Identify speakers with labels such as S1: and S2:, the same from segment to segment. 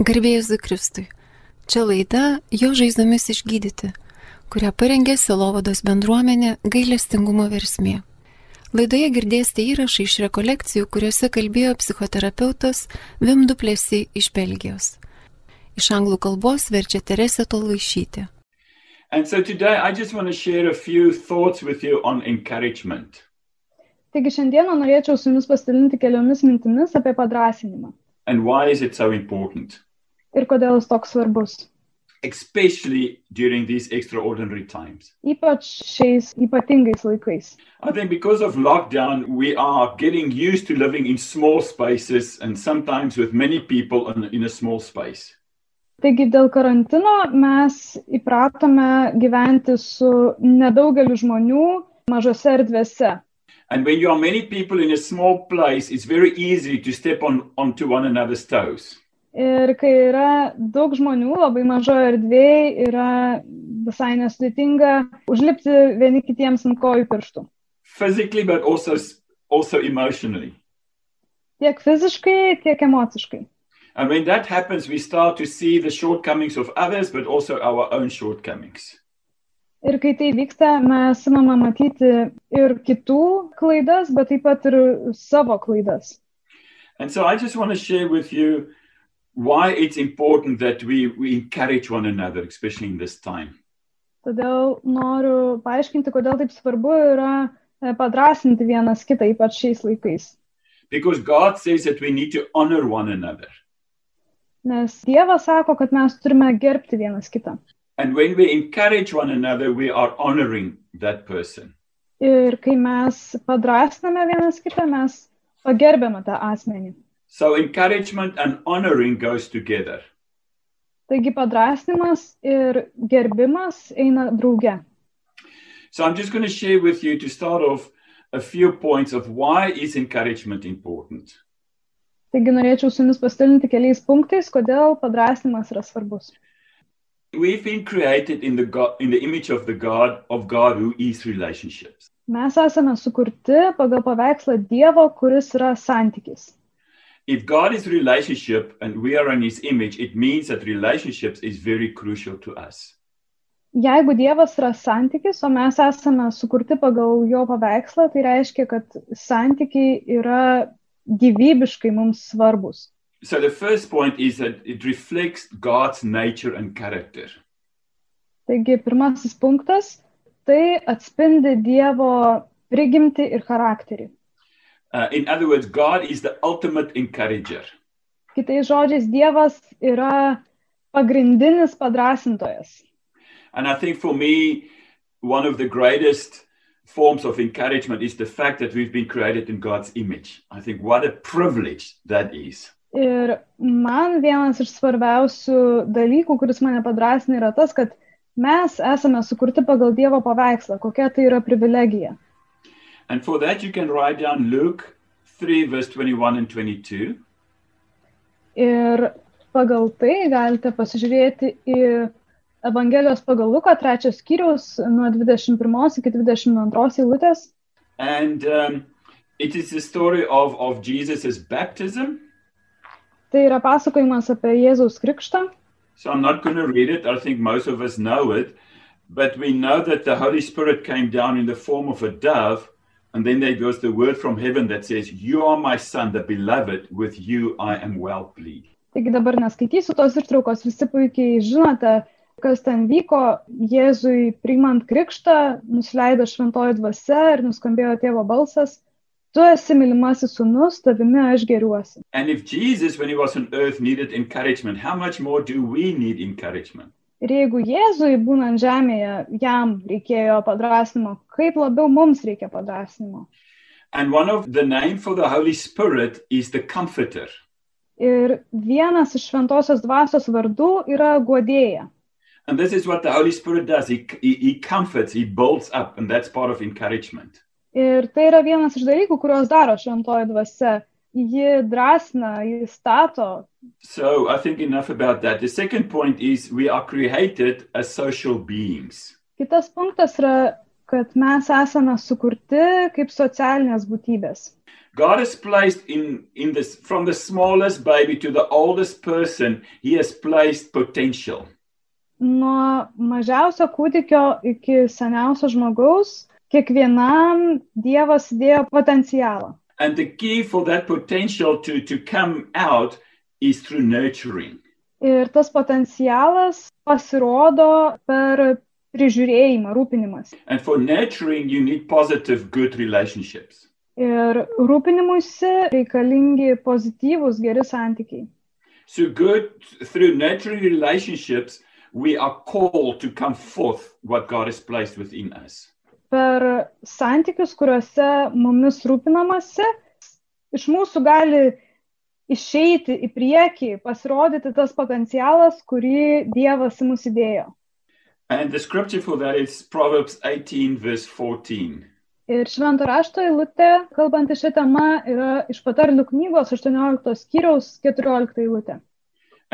S1: Garbėjus Zikristui. Čia laida Jo žaizdomis išgydyti, kurią parengė Silovados bendruomenė gailestingumo versmė. Laidoje girdėsite įrašą iš rekolekcijų, kuriuose kalbėjo psichoterapeutas Vimduplėsi iš Belgijos. Iš anglų kalbos verčia Teresė Tolaišytė.
S2: And so today I just want to share a few thoughts with you on encouragement.
S3: Taigi šiandieną norėčiau su jumis pasidalinti keliomis mintimis apie padrasinimą
S2: And why is it so important,
S3: ir kodėl jis toks svarbus.
S2: especially during these extraordinary times?
S3: Ypač šiais ypatingais laikais.
S2: I think because of lockdown, we are getting used to living in small spaces and sometimes with many people in, in a small space.
S3: Taigi dėl karantino mes įpratome gyventi su nedaugeliu žmonių mažose erdvėse.
S2: And when you are many people in a small place, it's very easy to step on onto one another's toes.
S3: Ir kai yra daug žmonių, labai mažoje erdvėje, yra visai nesudėtinga užlipti vieni kitiems ant kojų pirštų.
S2: physically but also also emotionally
S3: Tiek fiziškai, tiek emociškai.
S2: and when that happens we start to see the shortcomings of others but also our own shortcomings
S3: Ir kai tai vyksta, mes imame matyti ir kitų klaidas, bet taip pat ir savo klaidas.
S2: and so i just want to share with you why it's important that we, we encourage one another especially in this time
S3: Todėl noriu paaiškinti, kodėl taip svarbu yra e, padrasinti vienas kitą, ypač šiais laikais.
S2: because god says that we need to honor one another
S3: Nes Dievas sako, kad mes turime gerbti vienas kitą.
S2: and when we encourage one another we are honoring that person
S3: Ir kai mes padrasiname vienas kitą, mes pagerbėme tą asmenį.
S2: so encouragement and honoring goes together
S3: Taigi padrasinimas ir gerbimas eina drauge.
S2: So I'm just going to share with you to start off a few points of why is encouragement important.
S3: Taigi norėčiau su jumis pasidalinti keliais punktais, kodėl padrasinimas yra svarbus.
S2: We've been created in the God, in the image of the God of God who is relationships.
S3: Mes esame sukurti pagal paveikslą Dievo, kuris yra santykis.
S2: If God is relationship and we are in his image, it means that relationships is very crucial to us.
S3: Jeigu Dievas yra santykis, o mes esame sukurti pagal jo paveikslą, tai reiškia, kad santykiai yra gyvybiškai mums svarbus.
S2: So the first point is that it reflects God's nature and character.
S3: Taigi pirmasis punktas - tai atspindi Dievo prigimti ir charakterį.
S2: Uh, in other words, God is the ultimate encourager.
S3: Kitais žodžiais, Dievas yra pagrindinis padrasintojas.
S2: And I think for me, one of the greatest forms of encouragement is the fact that we've been created in God's image. I think what a privilege that is.
S3: Ir man vienas iš svarbiausių dalykų, kuris mane padrasina, yra tas, kad mes esame sukurti pagal Dievo paveikslą. Kokia tai yra privilegija.
S2: And for that, you can write down Luke 3, verse 21 and 22.
S3: Ir pagal tai galite pasižiūrėti į Evangelijos pagal Luką, trečios skyriaus, nuo 21 iki 22 eilutės.
S2: And um, it is the story of, of Jesus' baptism.
S3: Tai yra pasakojimas apie Jėzaus krikštą.
S2: So I'm not going to read it. I think most of us know it. But we know that the Holy Spirit came down in the form of a dove. And then there goes the word from heaven that says, You are my son, the beloved. With you I am well pleased.
S3: Taigi dabar neskaitysiu tos ištraukos, visi puikiai žinote, kas ten vyko. Jėzui priimant krikštą, nusileido šventoji dvasia ir nuskambėjo tėvo balsas, tu esi mylimasis sunus, tavimi aš geriuosi.
S2: And if Jesus, when he was on earth, needed encouragement, how much more do we need encouragement?
S3: Ir jeigu Jėzui būnant žemėje jam reikėjo padrasnimo, kaip labiau mums reikia padrasnimo.
S2: And one of the name for the Holy Spirit is the comforter.
S3: Ir vienas iš šventosios dvasios vardų yra godėja.
S2: And this is what the Holy Spirit does. He, he, he comforts, he builds up, and that's part of encouragement.
S3: Ir tai yra vienas iš dalykų, kuriuos daro šventoji dvasia. Ji drąsina, ji stato,
S2: So I think enough about that. The second point is we are created as social beings.
S3: Kitas punktas yra, kad mes esame sukurti kaip socialinės būtybės.
S2: God has placed in, in this, from the smallest baby to the oldest person, He has placed potential.
S3: Nuo mažiausio kūdikio iki seniausio žmogaus, kiekvienam Dievas dėjo potencialą.
S2: And the key for that potential to, to come out is through nurturing.
S3: Ir tas potencialas pasirodo per prižiūrėjimą, rūpinimas.
S2: And for nurturing, you need positive, good relationships.
S3: Ir rūpinimuisi reikalingi pozityvūs, geri santykiai.
S2: So, good through nurturing relationships, we are called to come forth what God has placed within us.
S3: Per santykius, kuriuose mumis rūpinamasi, iš mūsų gali išeiti į priekį, pasirodyti tas potencialas, kurį Dievas į mus įdėjo.
S2: And the scripture for that is Proverbs 18, verse 14.
S3: Ir švento rašto eilutė, kalbant šią temą, yra iš patarlių knygos 18 skyriaus 14 eilutė.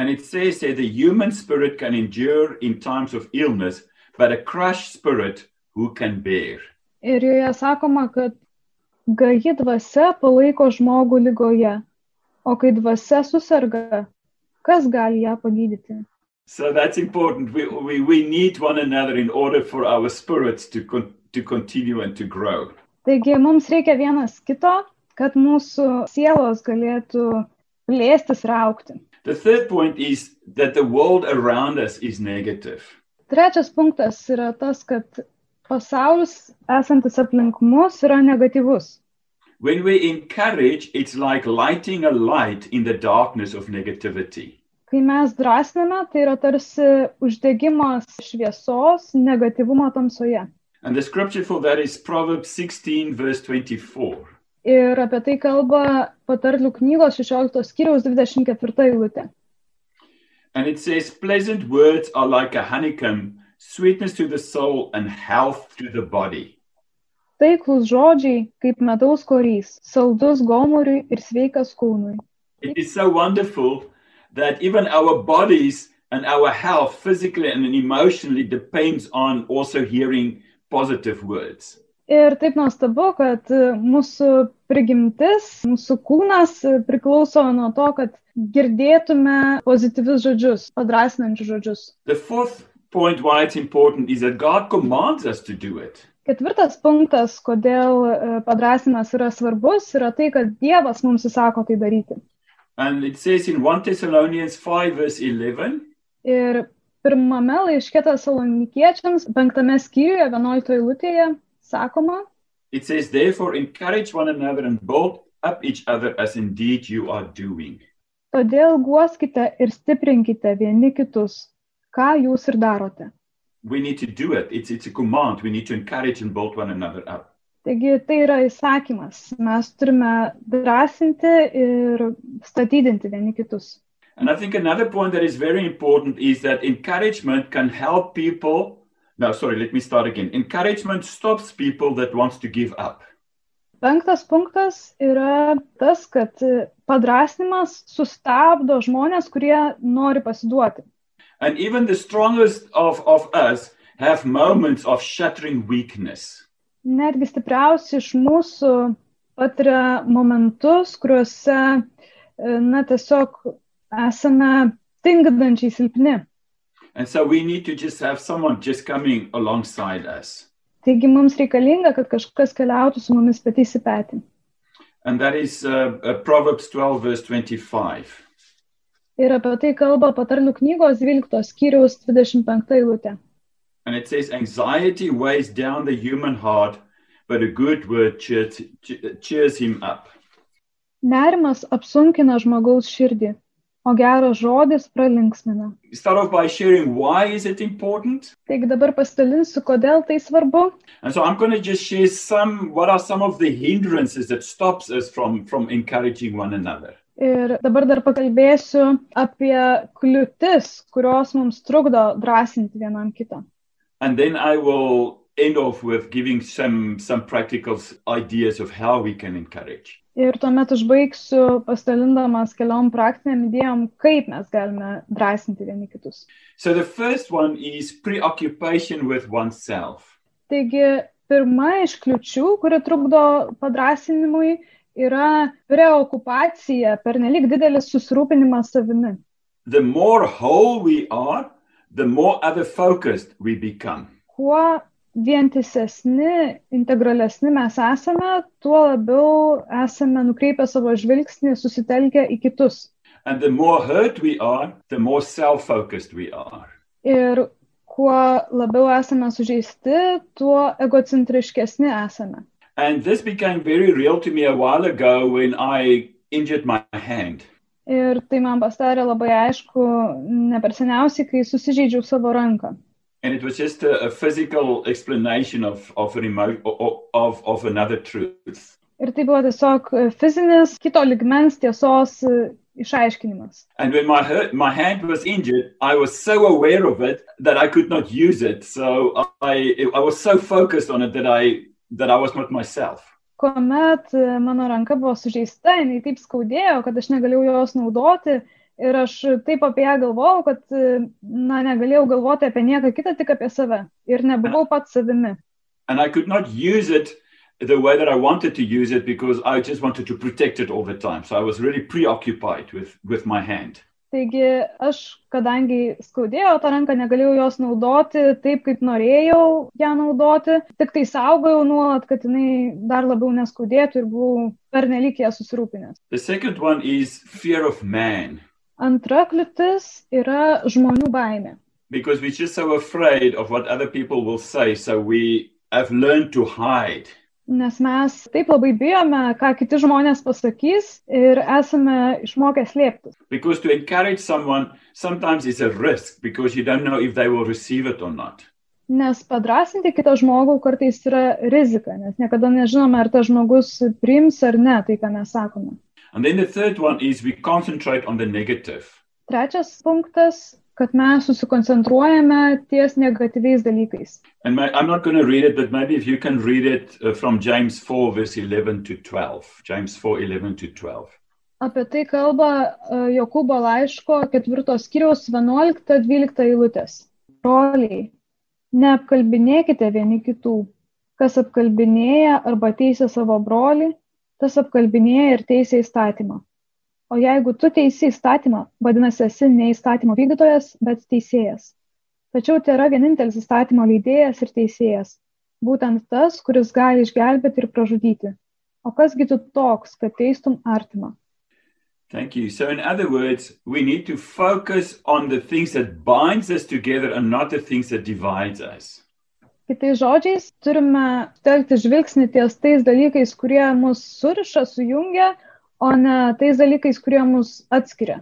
S2: And it says that the human spirit can endure in times of illness, but a crushed spirit who can bear?
S3: Ir joje sakoma, kad gaji dvasia palaiko žmogų lygoje, o kai dvasia susirga, kas gali ją pagydyti?
S2: So that's important. We, we, we need one another in order for our spirits to, con- to continue and to grow.
S3: Taigi mums reikia vienas kito, kad mūsų sielos galėtų plėstis ir aukti.
S2: The third point is that the world around us is negative.
S3: Trečias punktas yra tas, kad pasaulis esantis aplink mus yra negatyvus.
S2: When we encourage, it's like lighting a light in the darkness of negativity.
S3: Kai mes drąsiname, tai yra tarsi uždegimas šviesos negatyvumo tamsoje.
S2: And the scripture for that is Proverbs 16, verse 24.
S3: Ir apie tai kalba patarlių knygos 16 skyriaus 24 eilutė.
S2: And it says, Pleasant words are like a honeycomb, sweetness to the soul and health to the body.
S3: Taiklus žodžiai kaip medaus korys, saldus gomuriui ir sveikas kūnui.
S2: It is so wonderful that even our bodies and our health, physically and emotionally, depends on also hearing positive words.
S3: Ir taip nuostabu, kad e, mūsų prigimtis, mūsų kūnas e, priklauso nuo to, kad girdėtume pozityvius žodžius, padrasinančius žodžius.
S2: The fourth point why it's important is that God commands us to do it.
S3: Ketvirtas punktas, kodėl e, padrasinimas yra svarbus, yra tai, kad Dievas mums įsako tai daryti.
S2: And it says in 1 Thessalonians 5, verse 11,
S3: Ir pirmame laiške salonikiečiams, penktame skyriuje, vienuoliktoje eilutėje, sakoma,
S2: it says, Therefore, encourage one another and build up each other as indeed you are doing.
S3: todėl guoskite ir stiprinkite vieni kitus, ką jūs ir darote.
S2: We need to do it. It's, it's a command. We need to encourage and build one another up.
S3: Taigi tai yra įsakymas. Mes turime drąsinti ir statydinti vieni kitus.
S2: And I think another point that is very important is that encouragement can help people. No, sorry, let me start again. Encouragement stops people that wants to give up.
S3: Penktas punktas yra tas, kad e, padrasnimas sustabdo žmonės, kurie nori pasiduoti.
S2: And even the strongest of, of us have moments of shattering weakness.
S3: Netgi stipriausi iš mūsų patiria momentus, kuriuose, e, na, tiesiog esame tingdančiai silpni.
S2: And so we need to just have someone just coming alongside us.
S3: Taigi mums reikalinga, kad kažkas keliautų su mumis petys į petį.
S2: And that is uh, uh, Proverbs 12, verse 25.
S3: Ir apie tai kalba patarlių knygos 12 skyriaus 25 eilutė.
S2: And it says, Anxiety weighs down the human heart, but a good word cheers, cheers him up.
S3: Nerimas apsunkina žmogaus širdį, o geras žodis pralinksmina.
S2: Start off by sharing why is it important.
S3: Taigi dabar pasidalinsiu, kodėl tai svarbu.
S2: And so I'm going to just share some what are some of the hindrances that stops us from from encouraging one another.
S3: Ir dabar dar pakalbėsiu apie kliūtis, kurios mums trukdo drąsinti vienam kitą.
S2: And then I will end off with giving some some practical s- ideas of how we can encourage.
S3: Ir tuomet užbaigsiu pasidalindamas keliom praktiniam idėjom, kaip mes galime drąsinti vieni kitus.
S2: So the first one is preoccupation with oneself.
S3: Taigi, pirma iš kliučių, kuri trukdo padrasinimui, yra preokupacija, pernelik didelis susirūpinimas savimi.
S2: The more whole we are, the more other focused we become.
S3: Kuo vientisesni, integralesni mes esame, tuo labiau esame nukreipę savo žvilgsnį, susitelkę į kitus.
S2: And the more hurt we are, the more self focused we are.
S3: Ir kuo labiau esame sužeisti, tuo egocentriškesni esame.
S2: And this became very real to me a while ago when I injured my hand.
S3: Ir tai man pastarė labai aišku, ne per seniausiai, kai susižeidžiau savo ranką.
S2: And it was just a, a physical explanation of, of, an emo- o- o- of, of another truth.
S3: Ir tai buvo tiesiog fizinis kito ligmens tiesos e, išaiškinimas.
S2: And when my, hurt, my hand was injured, I was so aware of it that I could not use it. So I, I was so focused on it that I, that I was not myself.
S3: Kuomet e, mano ranka buvo sužeista, jinai taip skaudėjo, kad aš negalėjau jos naudoti ir aš taip apie ją galvojau, kad, e, na, negalėjau galvoti apie nieką kitą, tik apie save. Ir nebuvau pats savimi.
S2: And I could not use it the way that I wanted to use it because I just wanted to protect it all the time. So I was really preoccupied with, with my hand.
S3: Taigi aš, kadangi skaudėjo tą ranką, negalėjau jos naudoti taip, kaip norėjau ją naudoti, tik tai saugojau nuolat, kad jinai dar labiau neskaudėtų ir buvau pernelik ją susirūpinęs.
S2: The second one is fear of man
S3: Antra kliūtis yra žmonių baimė.
S2: because we're just so afraid of what other people will say. So we have learned to hide.
S3: Nes mes taip labai bijome, ką kiti žmonės pasakys ir esame išmokę slėptis.
S2: Because to encourage someone sometimes is a risk because you don't know if they will receive it or not.
S3: Nes padrasinti kitą žmogų kartais yra rizika, nes niekada nežinome, ar tas žmogus priims ar ne tai, ką mes sakome.
S2: And then the third one is we concentrate on the negative.
S3: Trečias punktas, kad mes susikoncentruojame ties negatyviais dalykais.
S2: And ma- I'm not going to read it, but maybe if you can read it uh, from James 4, verse 11 to 12. James 4, 11 to 12.
S3: Apie tai kalba e, Jokūbo laiško ketvirtos kiriaus 11-12 eilutės. Broliai, neapkalbinėkite vieni kitų. Kas apkalbinėja arba teisė savo brolį, tas apkalbinėja ir teisė įstatymą. O jeigu tu teisi įstatymą, vadinasi, esi ne įstatymo vykdytojas, bet teisėjas. Tačiau tai yra vienintelis įstatymo leidėjas ir teisėjas. Būtent tas, kuris gali išgelbėti ir pražudyti. O kasgi tu toks, kad teistum artimą?
S2: Thank you. So, in other words, we need to focus on the things that binds us together and not the things that divides us.
S3: Kitais žodžiais, turime telkti žvilgsnį ties tais dalykais, kurie mus suriša, sujungia, o ne tais dalykais, kurie mus atskiria.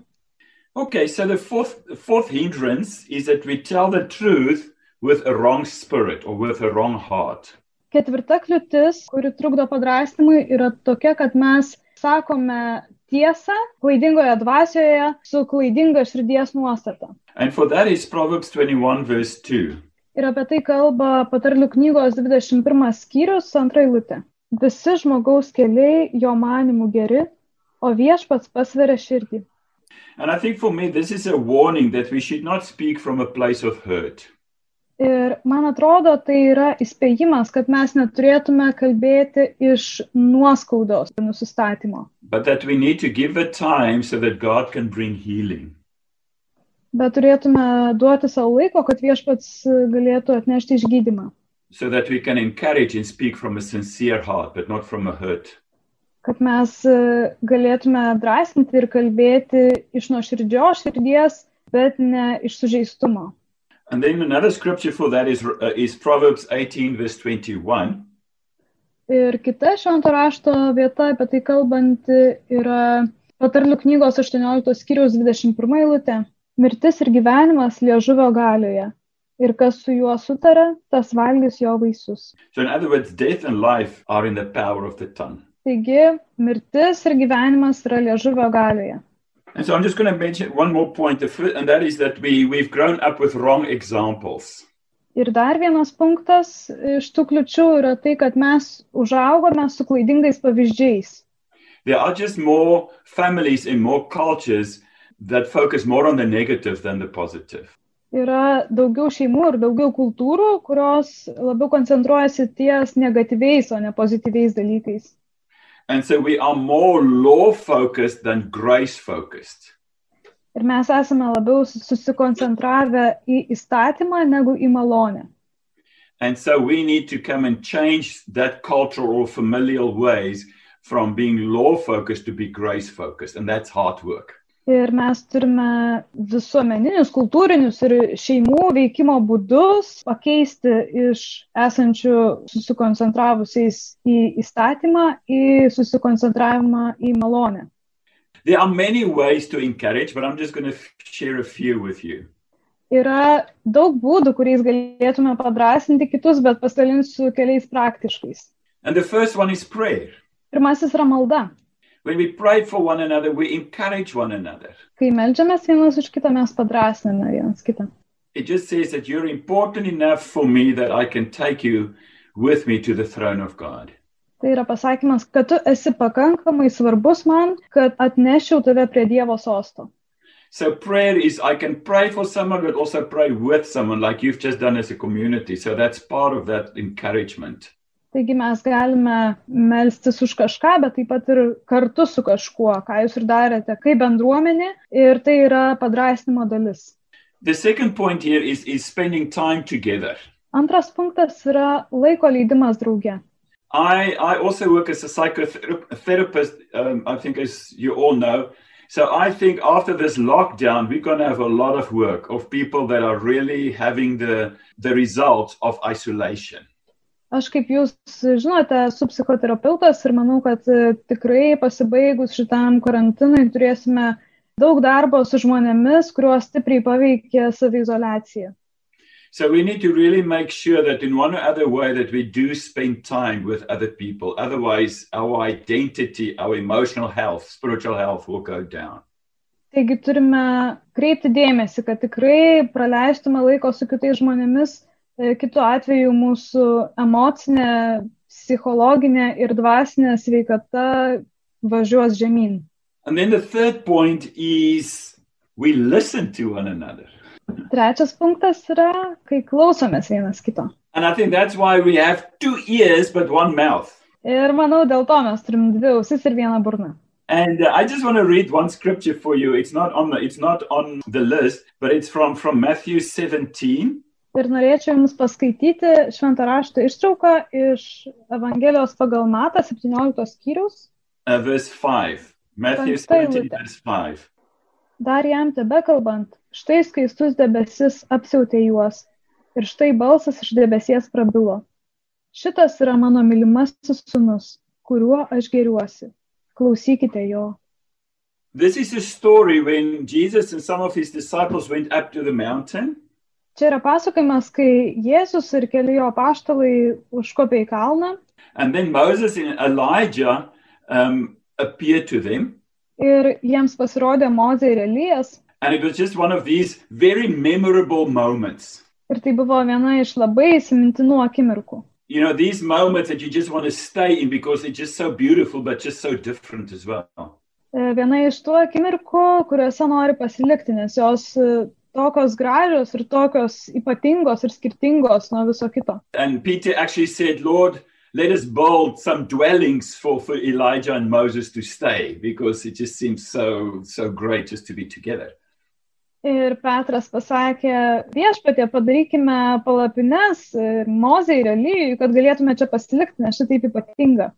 S2: Okay, so the fourth, the fourth hindrance is that we tell the truth with a wrong spirit or with a wrong heart.
S3: Ketvirta kliūtis, kuri trukdo padrastimui, yra tokia, kad mes sakome tiesą klaidingoje dvasioje su klaidinga širdies nuostata.
S2: And for that is Proverbs 21, verse 2.
S3: Ir apie tai kalba patarlių knygos 21 skyrius, antra eilutė. Visi žmogaus keliai jo manimų geri, o viešpats pasveria širdį.
S2: And I think for me, this is a warning that we should not speak from a place of hurt.
S3: Ir man atrodo, tai yra įspėjimas, kad mes neturėtume kalbėti iš nuoskaudos nusistatymo,
S2: but that we need to give it time so that God can bring healing.
S3: bet turėtume duoti savo laiko, kad viešpats galėtų atnešti išgydymą,
S2: So that we can encourage and speak from a sincere heart, but not from a hurt.
S3: kad mes e, galėtume drąsinti ir kalbėti iš nuoširdžio širdies, bet ne iš sužeistumo.
S2: And then another scripture for that is, uh, is Proverbs 18, verse 21.
S3: Ir kita švento rašto vieta apie tai kalbanti yra patarlių knygos 18 skyriaus 21 eilutė. Mirtis ir gyvenimas liežuvio galioje. Ir kas su juo sutara, tas valgys jo vaisius.
S2: So, in other words, death and life are in the power of the tongue.
S3: Taigi, mirtis ir gyvenimas yra liežuvio galioje.
S2: And so, I'm just going to mention one more point, the fir- and that is that we, we've grown up with wrong examples.
S3: Ir dar vienas punktas iš tų kliučių yra tai, kad mes užaugome su klaidingais pavyzdžiais.
S2: There are just more families and more cultures that focus more on the negative than the positive.
S3: yra daugiau šeimų ir daugiau kultūrų, kurios labiau koncentruojasi ties negatyviais, o ne pozityviais dalykais.
S2: And so we are more law focused than grace focused.
S3: Ir mes esame labiau sus- susikoncentravę į įstatymą negu į malonę.
S2: And so we need to come and change that cultural or familial ways from being law focused to be grace focused. And that's hard work.
S3: Ir mes turime visuomeninius, kultūrinius ir šeimų veikimo būdus pakeisti iš esančių susikoncentravusiais į įstatymą į susikoncentravimą į malonę.
S2: There are many ways to encourage, but I'm just going to share a few with you.
S3: Yra daug būdų, kuriais galėtume padrasinti kitus, bet pasidalinsiu keliais praktiškais.
S2: And the first one is prayer.
S3: Pirmasis yra malda.
S2: When we pray for one another, we encourage one another.
S3: Kai melžiamės vienas už kitą, mes padrasiname vienas kitą.
S2: It just says that you're important enough for me that I can take you with me to the throne of God.
S3: Tai yra pasakymas, kad tu esi pakankamai svarbus man, kad atnešiau tave prie Dievo sosto.
S2: So prayer is I can pray for someone, but also pray with someone, like you've just done as a community. So that's part of that encouragement.
S3: Taigi mes galime melstis už kažką, bet taip pat ir kartu su kažkuo, ką jūs ir darėte, kaip bendruomenė, ir tai yra padrasnimo dalis.
S2: The second point here is, is spending time together.
S3: Antras punktas yra laiko leidimas drauge.
S2: I, I also work as a psychotherapist, um, I think, as you all know. So I think after this lockdown, we're going to have a lot of work of people that are really having the, the results of isolation.
S3: Aš kaip jūs žinote, esu psichoterapeutas ir manau, kad e, tikrai pasibaigus šitam karantinui turėsime daug darbo su žmonėmis, kuriuos stipriai paveikė savizolacija.
S2: So we need to really make sure that in one or other way that we do spend time with other people. Otherwise, our identity, our emotional health, spiritual health will go down.
S3: Taigi turime kreipti dėmesį, kad tikrai praleistume laiko su kitais žmonėmis, e, kitu atveju mūsų emocinė, psichologinė ir dvasinė sveikata važiuos žemyn.
S2: And then the third point is we listen to one another.
S3: Trečias punktas yra, kai klausomės vienas kito.
S2: And I think that's why we have two ears but one mouth.
S3: Ir manau, dėl to mes turim dvi ausis ir vieną burną.
S2: And uh, I just want to read one scripture for you. It's not on the it's not on the list, but it's from from Matthew 17
S3: Ir norėčiau Jums paskaityti šventą raštą ištrauką iš Evangelijos pagal Matą 17 skyrius.
S2: uh, verse 5. Matthew
S3: Thanks,
S2: 17
S3: David.
S2: verse 5.
S3: Dar jam tebe kalbant, štai skaistus debesis apsiautė juos. Ir štai balsas iš debesies prabilo. Šitas yra mano mylimasis sunus, kuriuo aš geriuosi. Klausykite jo.
S2: This is a story when Jesus and some of his disciples went up to the mountain
S3: Čia yra pasakojimas, kai Jėzus ir keli jo paštalai užkopė į kalną
S2: and then Moses and Elijah um, appeared to them.
S3: ir jiems pasirodė Mozė ir Elijas.
S2: And it was just one of these very memorable moments.
S3: Ir tai buvo viena iš labai įsimintinų akimirkų.
S2: You know, these moments that you just want to stay in because they're just so beautiful, but just so different as well.
S3: E, Viena iš tų akimirkų, kuriuose nori pasilikti, nes jos e, tokios gražios ir tokios ypatingos ir skirtingos nuo viso kito.
S2: And Peter actually said, Lord, let us build some dwellings for, for Elijah and Moses to stay because it just seems so, so great just to be together.
S3: Ir Petras pasakė, viešpatė, padarykime palapines ir mozai ir alyjui, kad galėtume čia pasilikti, nes šitaip ypatinga.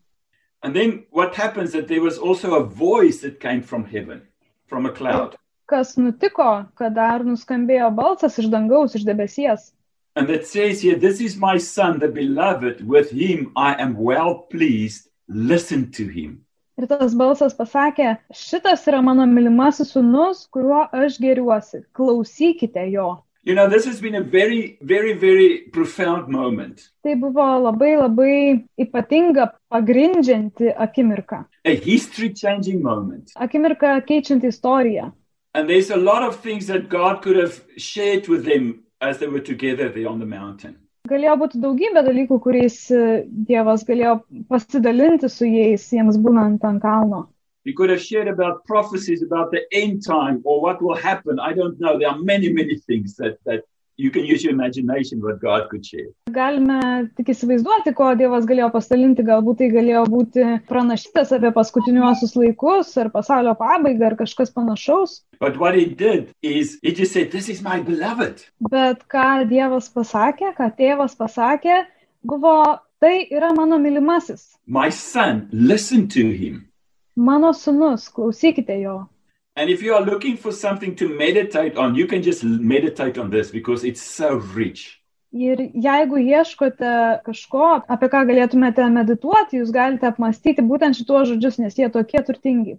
S2: And then what happens that there was also a voice that came from heaven, from a cloud,
S3: Kas nutiko, kad dar nuskambėjo balsas iš dangaus, iš debesies.
S2: and that says here, This is my son, the beloved, with him I am well pleased. Listen to him.
S3: Ir tas balsas pasakė, šitas yra mano mylimasis sunus, kuriuo aš geriuosi. Klausykite jo.
S2: You know, this has been a very, very, very profound moment.
S3: Tai buvo labai labai ypatinga, pagrindžianti akimirka.
S2: A history changing moment.
S3: Akimirka keičianti istoriją.
S2: And there's a lot of things that God could have shared with them as they were together there on the mountain.
S3: Galėjo būti daugybė dalykų, kuriais e, Dievas galėjo pasidalinti su jais, jiems būnant ant kalno.
S2: He could have shared about prophecies about the end time or what will happen. I don't know. There are many, many things that, that You can use your imagination what God could share.
S3: Galime tik įsivaizduoti, ko Dievas galėjo pasidalinti, galbūt tai galėjo būti pranašytas apie paskutiniuosius laikus ar pasaulio pabaigą ar kažkas panašaus.
S2: But what he did is he just said, This is my beloved.
S3: Bet ką Dievas pasakė, ką tėvas pasakė, buvo, tai yra mano mylimasis,
S2: My son, listen to him.
S3: mano sunus, klausykite jo.
S2: And if you are looking for something to meditate on, you can just meditate on this because it's so rich.
S3: Ir jeigu ieškote kažko, apie ką galėtumėte medituoti, jūs galite apmastyti būtent šituos žodžius, nes jie tokie turtingi.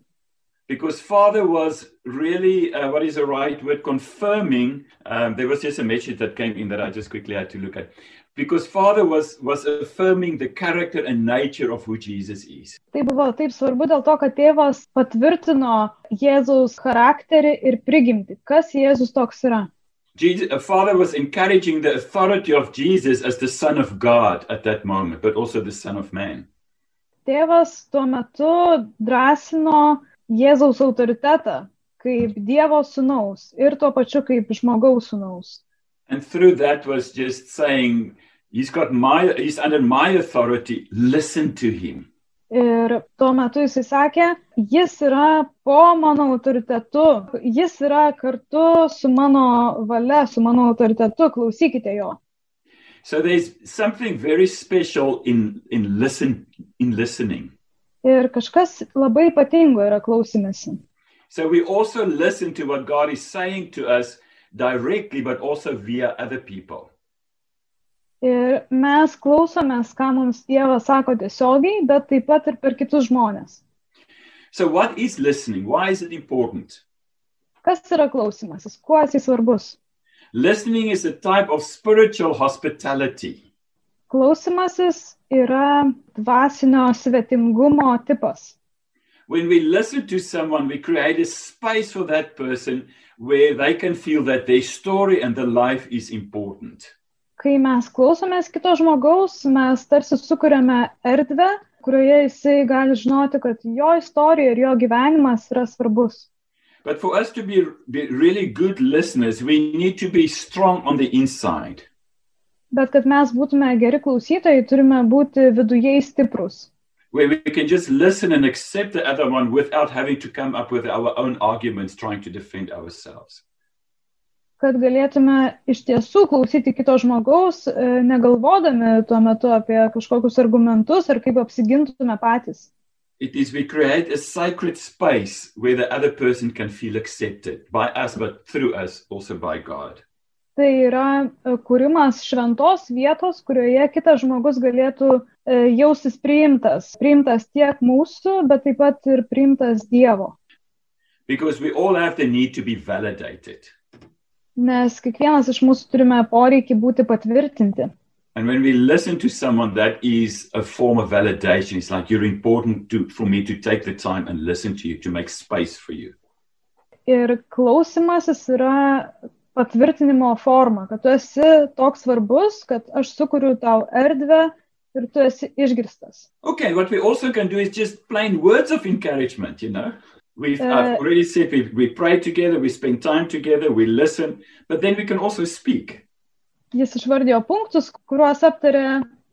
S2: Because Father was really, uh, what is the right word, confirming. Um, there was just a message that came in that I just quickly had to look at. Because Father was, was affirming the character and nature of who Jesus is.
S3: Tai buvo taip svarbu dėl to, kad tėvas patvirtino Jėzaus charakterį ir prigimti, kas Jėzus toks yra.
S2: Jesus, uh, Father was encouraging the authority of Jesus as the Son of God at that moment, but also the Son of Man.
S3: Tėvas tuo metu drąsino Jėzaus autoritetą kaip Dievo sunaus ir tuo pačiu kaip žmogaus sunaus.
S2: And through that was just saying, He's got my, he's under my authority, listen to him.
S3: Ir tuo metu jisai sakė, jis yra po mano autoritetu, jis yra kartu su mano valia, su mano autoritetu, klausykite jo.
S2: So there's something very special in, in, listen, in listening.
S3: Ir kažkas labai ypatingo yra klausimėsi.
S2: So we also listen to what God is saying to us directly, but also via other people.
S3: Ir mes klausomės, ką mums Dievas sako tiesiogiai, bet taip pat ir per kitus žmonės.
S2: So, what is listening? Why is it important?
S3: Kas yra klausimasis, kuo jisai svarbus?
S2: Listening is a type of spiritual hospitality.
S3: Klausimasis yra dvasinio svetingumo tipas.
S2: When we listen to someone, we create a space for that person where they can feel that their story and their life is important.
S3: Kai mes klausomės kito žmogaus, mes tarsi sukūrėme erdvę, kurioje jisai gali žinoti, kad jo istorija ir jo gyvenimas yra svarbus.
S2: But for us to be, be really good listeners, we need to be strong on the inside.
S3: Bet kad mes būtume geri klausytojai, turime būti viduje stiprus.
S2: where we can just listen and accept the other one without having to come up with our own arguments trying to defend ourselves.
S3: Kad galėtume iš tiesų klausyti kito žmogaus, e, negalvodami tuo metu apie kažkokius argumentus ar kaip apsigintume patys.
S2: It is we create a sacred space where the other person can feel accepted by us, but through us, also by God.
S3: Tai yra e, kūrimas šventos vietos, kurioje kitas žmogus galėtų e, jaustis priimtas. Priimtas tiek mūsų, bet taip pat ir priimtas Dievo.
S2: Because we all have the need to be validated.
S3: Nes kiekvienas iš mūsų turime poreikį būti patvirtinti.
S2: And when we listen to someone, that is a form of validation. It's like you're important to, for me to take the time and listen to you, to make space for you.
S3: Ir klausimasis yra patvirtinimo forma, kad tu esi toks svarbus, kad aš sukuriu tau erdvę ir tu esi išgirstas.
S2: Okay, what we also can do is just plain words of encouragement, you know. We've I've
S3: Uh,
S2: already said we, we pray together, we spend time together, we listen, but then we can also speak.
S3: Jis išvardėjo punktus, kuriuos aptarė,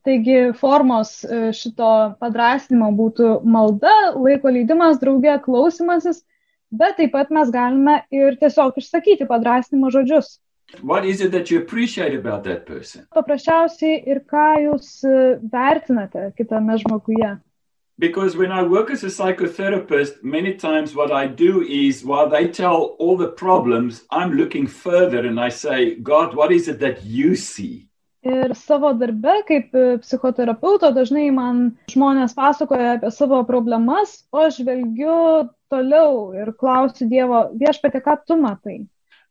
S3: taigi formos e, šito padrasnimo būtų malda, laiko leidimas, draugė, klausimasis, bet taip pat mes galime ir tiesiog išsakyti padrasnimo žodžius.
S2: What is it that you appreciate about that person?
S3: Paprasčiausiai ir ką jūs e, vertinate kitame žmoguje.
S2: Because when I work as a psychotherapist, many times what I do is while they tell all the problems, I'm looking further and I say, God, what is it that you see?
S3: Ir savo darbe kaip e, psichoterapeuto dažnai man žmonės pasakoja apie savo problemas, o aš žvelgiu toliau ir klausiu Dievo viešpatė, ką tu matai.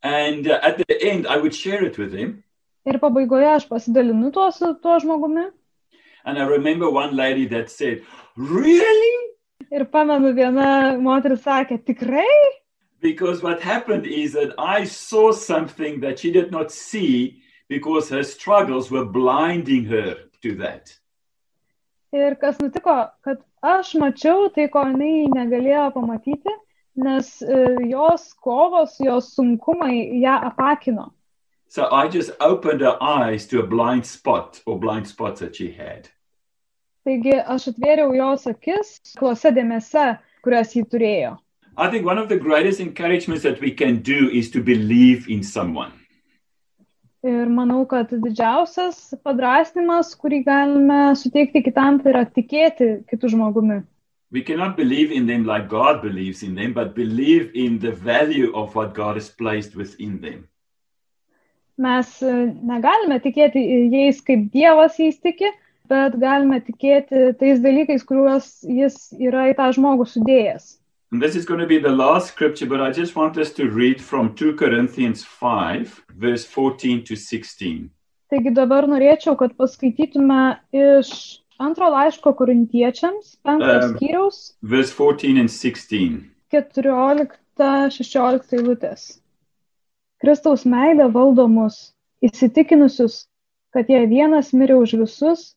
S2: And uh, at the end, I would share it with them.
S3: Ir pabaigoje aš pasidalinu tuo su tuo žmogumi
S2: And I remember one lady that said, Really?
S3: ir pamenu viena moteris sakė, tikrai?
S2: Because what happened is that I saw something that she did not see because her struggles were blinding her to that.
S3: Ir kas nutiko, kad aš mačiau tai, ko jinai negalėjo pamatyti, nes e, jos kovos, jos sunkumai ją apakino.
S2: So I just opened her eyes to a blind spot or blind spots that she had.
S3: Taigi aš atvėriau jos akis klose dėmese, kurias ji turėjo.
S2: I think one of the greatest encouragements that we can do is to believe in someone.
S3: Ir manau, kad didžiausias padrasnimas, kurį galime suteikti kitam, tai yra tikėti kitų žmogumi.
S2: We cannot believe in them like God believes in them, but believe in the value of what God has placed within them.
S3: Mes e, negalime tikėti jais, kaip Dievas jais tiki, bet galime tikėti tais dalykais, kuriuos jis yra į tą žmogų sudėjęs.
S2: And this is going to be the last scripture, but I just want us to read from 2 Corinthians 5, verse 14 to 16.
S3: Taigi dabar norėčiau, kad paskaitytume iš antro laiško korintiečiams, penktos
S2: Em.
S3: skyriaus,
S2: Verse 14 and 16.
S3: 14-16 eilutės. Kristaus meilė valdo mus, įsitikinusius, kad jei vienas mirė už visus,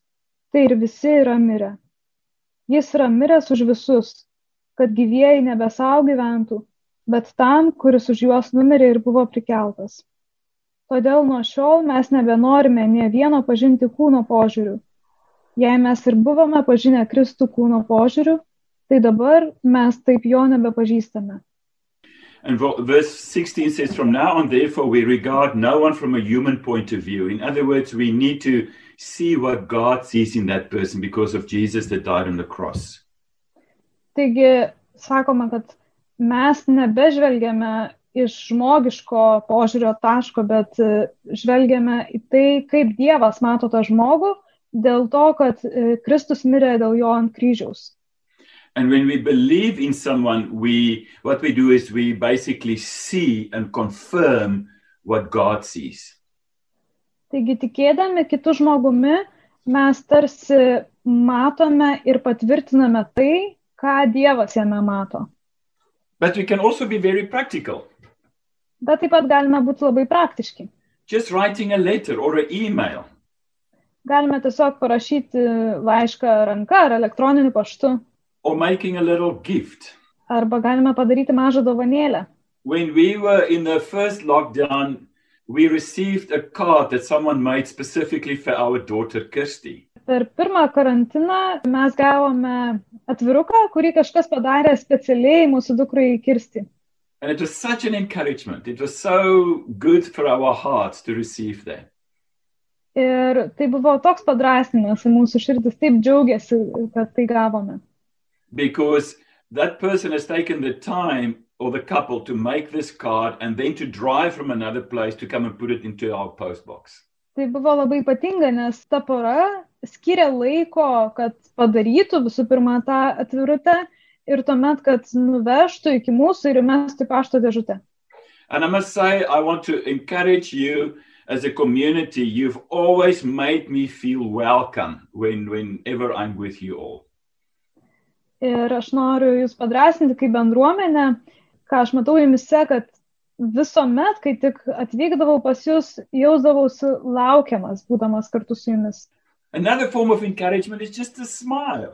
S3: tai ir visi yra mirę. Jis yra miręs už visus, kad gyvieji nebesau gyventų, bet tam, kuris už juos numirė ir buvo prikeltas. Todėl nuo šiol mes nebenorime ne vieno pažinti kūno požiūrių. Jei mes ir buvome pažinę Kristų kūno požiūrių, tai dabar mes taip jo nebepažįstame.
S2: And vo- verse 16 says, From now on, therefore, we regard no one from a human point of view. In other words, we need to see what God sees in that person because of Jesus that died on the cross.
S3: Taigi sakoma, kad mes nebežvelgiame iš žmogiško požiūrio taško, bet e, žvelgiame į tai, kaip Dievas mato tą žmogų, dėl to, kad e, Kristus mirė dėl jo ant kryžiaus.
S2: And when we believe in someone, we what we do is we basically see and confirm what God sees.
S3: Taigi tikėdami kitų žmogumi, mes tarsi matome ir patvirtiname tai, ką Dievas jame mato.
S2: But we can also be very practical.
S3: Bet taip pat galime būti labai praktiški.
S2: Just writing a letter or an email.
S3: Galime tiesiog parašyti laišką ranka ar elektroniniu paštu,
S2: or making a little gift.
S3: arba galime padaryti mažą dovanėlę.
S2: When we were in the first lockdown, we received a card that someone made specifically for our daughter Kirsty.
S3: Per pirmą karantiną mes gavome atviruką, kurį kažkas padarė specialiai mūsų dukrai kirsti.
S2: And it was such an encouragement. It was so good for our hearts to receive that.
S3: Ir tai buvo toks padrasnimas, mūsų širdis taip džiaugiasi, kad tai gavome.
S2: Because that person has taken the time or the couple to make this card and then to drive from another place to come and put it into our postbox.
S3: Tai buvo labai ypatinga, nes ta pora skiria laiko, kad padarytų visų pirma tą atvirutę ir tuomet, kad nuvežtų iki mūsų ir mestų į pašto dėžutę.
S2: And I must say, I want to encourage you as a community. You've always made me feel welcome when, whenever I'm with you all.
S3: Ir aš noriu Jūs padrasinti kaip bendruomenę, ką aš matau Jumise, kad visuomet, kai tik atvykdavau pas Jūs, jausdavausi laukiamas, būdamas kartu su Jumis.
S2: Another form of encouragement is just a smile.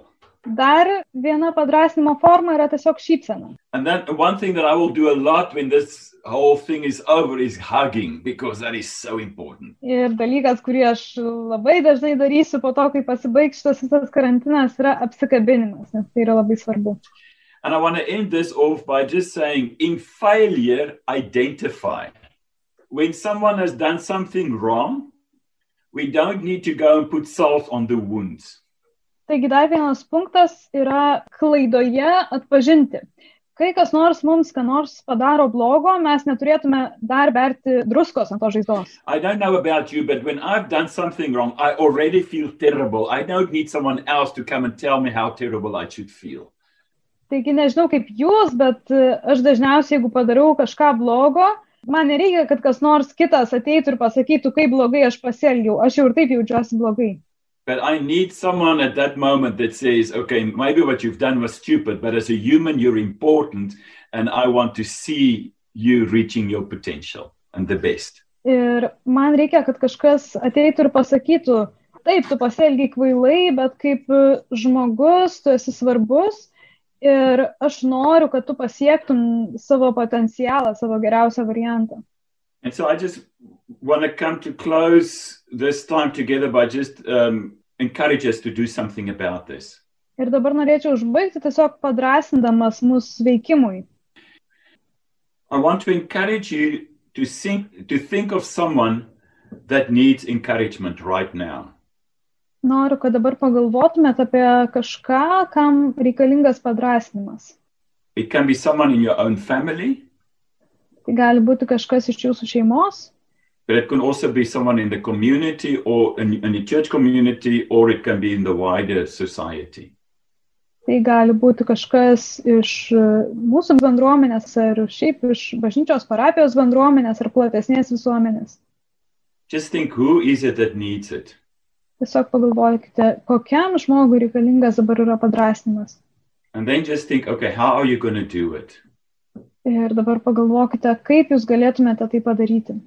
S3: Dar viena padrasinimo forma yra tiesiog šypsena.
S2: And then one thing that I will do a lot when this whole thing is over is hugging because that is so important.
S3: Ir dalykas, kurį aš labai dažnai darysiu po to, kai pasibaigs šitas visas karantinas, yra apsikabinimas, nes tai yra labai svarbu.
S2: And I want to end this off by just saying in failure, identify. When someone has done something wrong, we don't need to go and put salt on the wounds.
S3: Taigi dar vienas punktas yra klaidoje atpažinti. Kai kas nors mums, ką nors padaro blogo, mes neturėtume dar berti druskos ant to žaizdos.
S2: I don't know about you, but when I've done something wrong, I already feel terrible. I don't need someone else to come and tell me how terrible I should feel.
S3: Taigi nežinau kaip jūs, bet e, aš dažniausiai, jeigu padariau kažką blogo, man nereikia, kad kas nors kitas ateitų ir pasakytų, kaip blogai aš pasielgiau. Aš jau ir taip jaučiuosi blogai.
S2: But I need someone at that moment that says, okay, maybe what you've done was stupid, but as a human, you're important, and I want to see you reaching your potential and the best.
S3: Ir man reikia, kad kažkas ateitų ir pasakytų, taip, tu pasielgiai kvailai, bet kaip e, žmogus, tu esi svarbus ir aš noriu, kad tu pasiektum savo potencialą, savo geriausią variantą.
S2: And so I just want to come to close this time together by just um, encourage us to do something about this.
S3: Ir dabar norėčiau užbaigti tiesiog padrasindamas mūsų veikimui.
S2: I want to encourage you to think, to think of someone that needs encouragement right now.
S3: Noriu, kad dabar pagalvotumėt apie kažką, kam reikalingas padrasinimas.
S2: It can be someone in your own family,
S3: Tai gali būti kažkas iš jūsų šeimos,
S2: but it can also be someone in the community or in, in the church community, or it can be in the wider society.
S3: tai gali būti kažkas iš e, mūsų bendruomenės ar šiaip iš bažnyčios parapijos bendruomenės ar platesnės visuomenės.
S2: Just think who is it that needs it?
S3: Tiesiog pagalvokite, kokiam žmogui reikalingas dabar yra padrasnimas.
S2: And then just think, okay, how are you going to do it?
S3: Ir dabar pagalvokite, kaip jūs galėtumėte tai padaryti.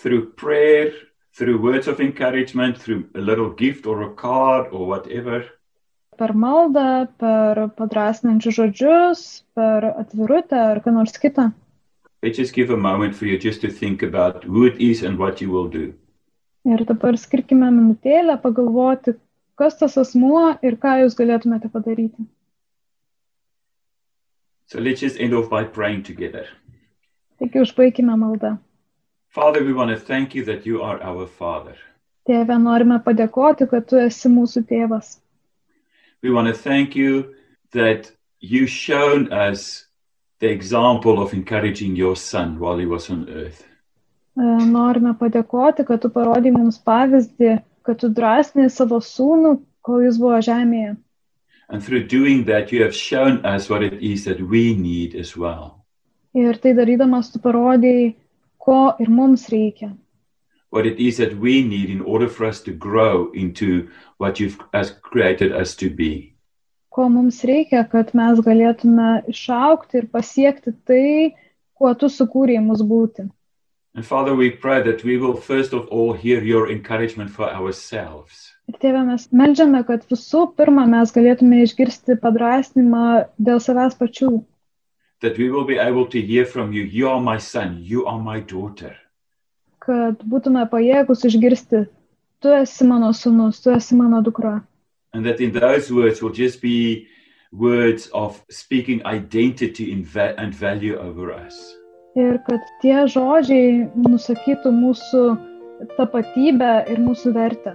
S2: Through prayer, through words of encouragement, through a little gift or a card or whatever.
S3: Per maldą, per padrasnančius žodžius, per atvirutę ar ką nors kitą.
S2: Let's just give a moment for you just to think about who it is and what you will do.
S3: Ir dabar skirkime minutėlę pagalvoti, kas tas asmuo ir ką jūs galėtumėte padaryti.
S2: So let's just end off by praying together.
S3: Taigi užbaikime maldą.
S2: Father, we want to thank you that you are our Father.
S3: Tėve, norime padėkoti, kad tu esi mūsų tėvas.
S2: We want to thank you that you've shown us the example of encouraging your Son while he was on earth.
S3: E, Norime padėkoti, kad tu parodai mums pavyzdį, kad tu drąsnai savo sūnų, kol jis buvo žemėje.
S2: And through doing that, you have shown us what it is that we need as well.
S3: Ir tai darydamas tu parodai, ko ir mums reikia.
S2: What it is that we need in order for us to grow into what you've has created us to be.
S3: Ko mums reikia, kad mes galėtume išaukti ir pasiekti tai, kuo tu sukūrėjai mus būti.
S2: And Father, we pray that we will first of all hear your encouragement for ourselves.
S3: Ir tėve, mes melžiame, kad visų pirma mes galėtume išgirsti padrasnimą dėl savęs pačių.
S2: That we will be able to hear from you, you are my son, you are my daughter.
S3: kad būtume pajėgus išgirsti, tu esi mano sunus, tu esi mano dukra.
S2: And that in those words will just be words of speaking identity in va- and value over us.
S3: Ir kad tie žodžiai nusakytų mūsų tapatybę ir mūsų vertę.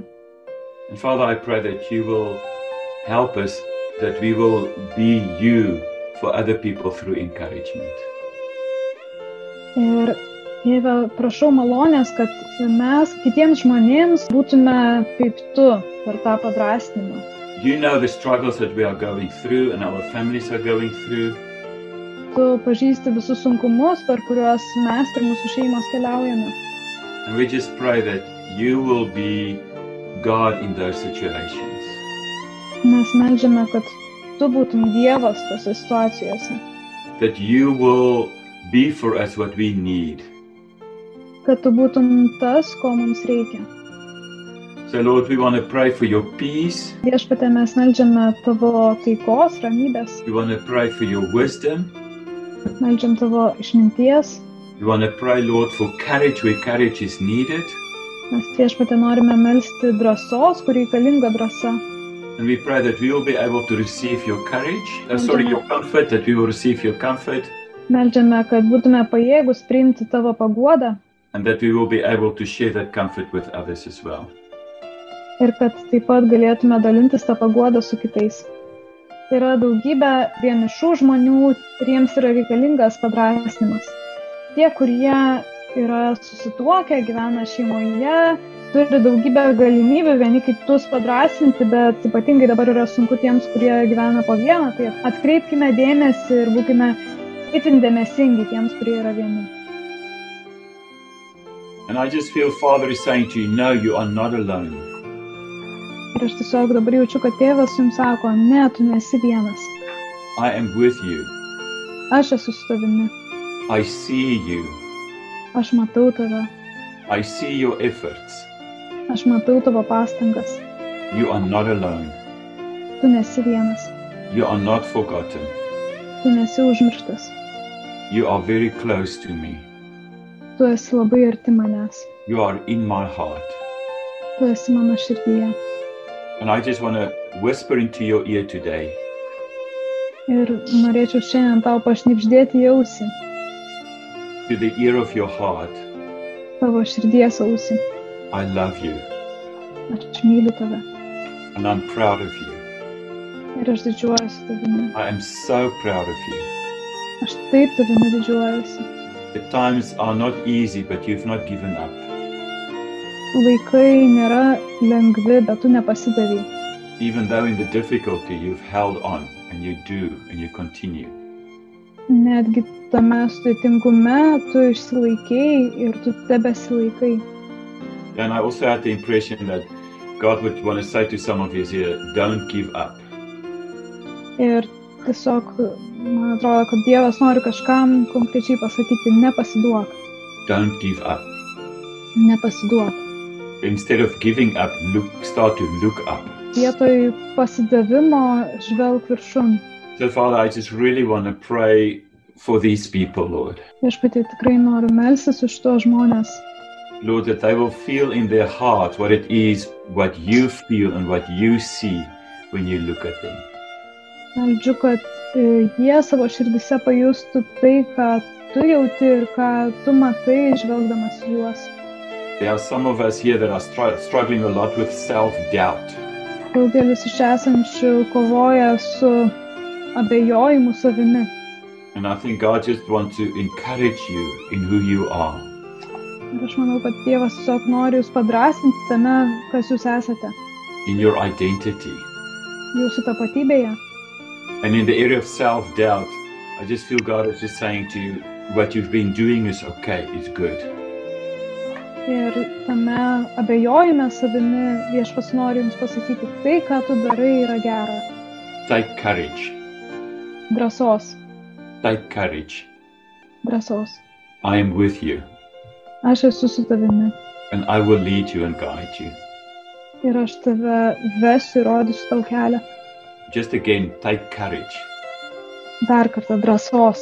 S2: And Father, I pray that you will help us, that we will be you for other people through encouragement.
S3: Ir tėve, prašau malonės, kad mes kitiems žmonėms būtume kaip tu per tą padrastinimą.
S2: You know the struggles that we are going through and our families are going through.
S3: Tu pažįsti visus sunkumus, per kuriuos mes ir mūsų šeimos keliaujame.
S2: And we just pray that you will be God in those situations,
S3: Mes melžiame, kad tu būtum Dievas tose situacijose.
S2: that you will be for us what we need.
S3: kad tu būtum tas, ko mums reikia.
S2: So, Lord, we want to pray for your peace.
S3: Viešpatė mes melžiame tavo taikos, ramybės,
S2: We want to pray for your wisdom.
S3: melžiam tavo išminties,
S2: We want to pray, Lord, for courage where courage is needed.
S3: mes viešpatė norime melsti drąsos, kur reikalinga drąsa.
S2: And we pray that we will be able to receive your courage, uh, sorry, your comfort, that we will receive your comfort,
S3: Melžiame, kad būtume pajėgus priimti tavo paguodą
S2: and that we will be able to share that comfort with others as well.
S3: ir kad taip pat galėtume dalintis tą paguodą su kitais. Yra daugybė vienišų žmonių ir jiems yra reikalingas padrasnimas. Tie, kurie yra susituokę, gyvena šeimoje, turi daugybę galimybių vieni kitus padrasinti, bet ypatingai dabar yra sunku tiems, kurie gyvena po vieną, tai atkreipkime dėmesį ir būkime itin dėmesingi tiems, kurie yra vieni.
S2: And I just feel Father is saying to you, no, you are not alone.
S3: Ir aš tiesiog dabar jaučiu, kad tėvas jums sako, ne, tu nesi vienas,
S2: I am with you.
S3: aš esu su tavimi,
S2: I see you.
S3: aš matau tave.
S2: I see your efforts.
S3: Aš matau tavo pastangas,
S2: You are not alone.
S3: tu nesi vienas,
S2: You are not forgotten.
S3: tu nesi užmirštas,
S2: You are very close to me.
S3: tu esi labai arti manęs,
S2: You are in my heart.
S3: tu esi mano širdyje.
S2: And I just want to whisper into your ear today
S3: Ir norėčiau šiandien tau pašnipždėti jausi,
S2: to the ear of your heart,
S3: tavo širdies ausi.
S2: I love you
S3: Aš myliu tave
S2: and I'm proud of you.
S3: ir aš didžiuojuosi tavimi.
S2: I am so proud of you.
S3: Aš taip tavimi didžiuojuosi.
S2: The times are not easy, but you've not given up.
S3: Laikai nėra lengvi, bet tu nepasidavai.
S2: Even though in the difficulty, you've held on and you do and you continue.
S3: Netgi tame sudėtingume tu išsilaikiai ir tu tebesilaikai.
S2: And I also had the impression that God would want to say to some of you here, don't give up.
S3: Ir tiesiog, man atrodo, kad Dievas nori kažkam konkrečiai pasakyti, nepasiduok,
S2: Don't give up.
S3: nepasiduok.
S2: Instead of giving up, look start to look up.
S3: Vietoj pasidavimo žvelg viršum.
S2: So Father, I just really want to pray for these people, Lord.
S3: Aš pati tikrai noriu melsis už tuos žmonės,
S2: Lord, that they will feel in their heart what it is, what you feel and what you see when you look at them.
S3: Meldžiu, kad e, jie savo širdise pajustų tai, ką tu jauti ir ką tu matai, žvelgdamas į juos.
S2: There are some of us here that are str- struggling a lot with self doubt.
S3: Daugelis iš esančių kovoja su abejojimu savimi.
S2: And I think God just wants to encourage you in who you are.
S3: Ir aš manau, kad Dievas tiesiog nori jūs padrasinti tame, kas jūs esate,
S2: in your identity.
S3: jūsų tapatybėje.
S2: And in the area of self doubt, I just feel God is just saying to you, what you've been doing is okay, it's good.
S3: Ir tame abejojime savimi viešpas nori jums pasakyti, tai, ką tu darai, yra gera.
S2: Take courage.
S3: Drąsos,
S2: Take courage.
S3: drąsos.
S2: I am with you,
S3: Aš esu su tavimi.
S2: and I will lead you and guide you.
S3: Ir aš tave vesiu ir rodysiu tau kelią.
S2: Just again, take courage.
S3: Dar kartą drąsos.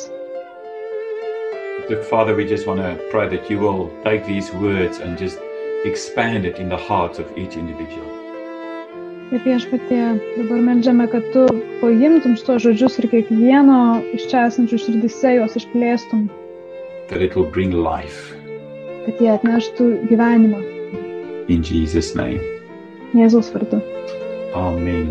S2: So, Father, we just want to pray that you will take these words and just expand it in the hearts of each individual.
S3: Ir viešpatie, dabar melžiame, kad tu paimtum šitos žodžius ir kiekvieno iš čia esančių širdise juos išplėstum,
S2: That it will bring life.
S3: kad jie atneštų gyvenimą
S2: In Jesus' name.
S3: Jėzaus vardu.
S2: Amen.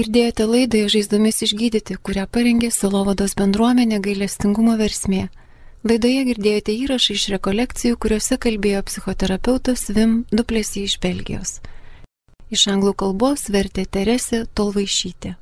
S1: Girdėjote laidą Žaizdomis išgydyti, kurią parengė Silovados bendruomenė gailestingumo versmė. Laidoje girdėjote įrašą iš rekolekcijų, kuriuose kalbėjo psichoterapeutas Vim Duplesy iš Belgijos. Iš anglų kalbos vertė Teresė Tolvaišytė.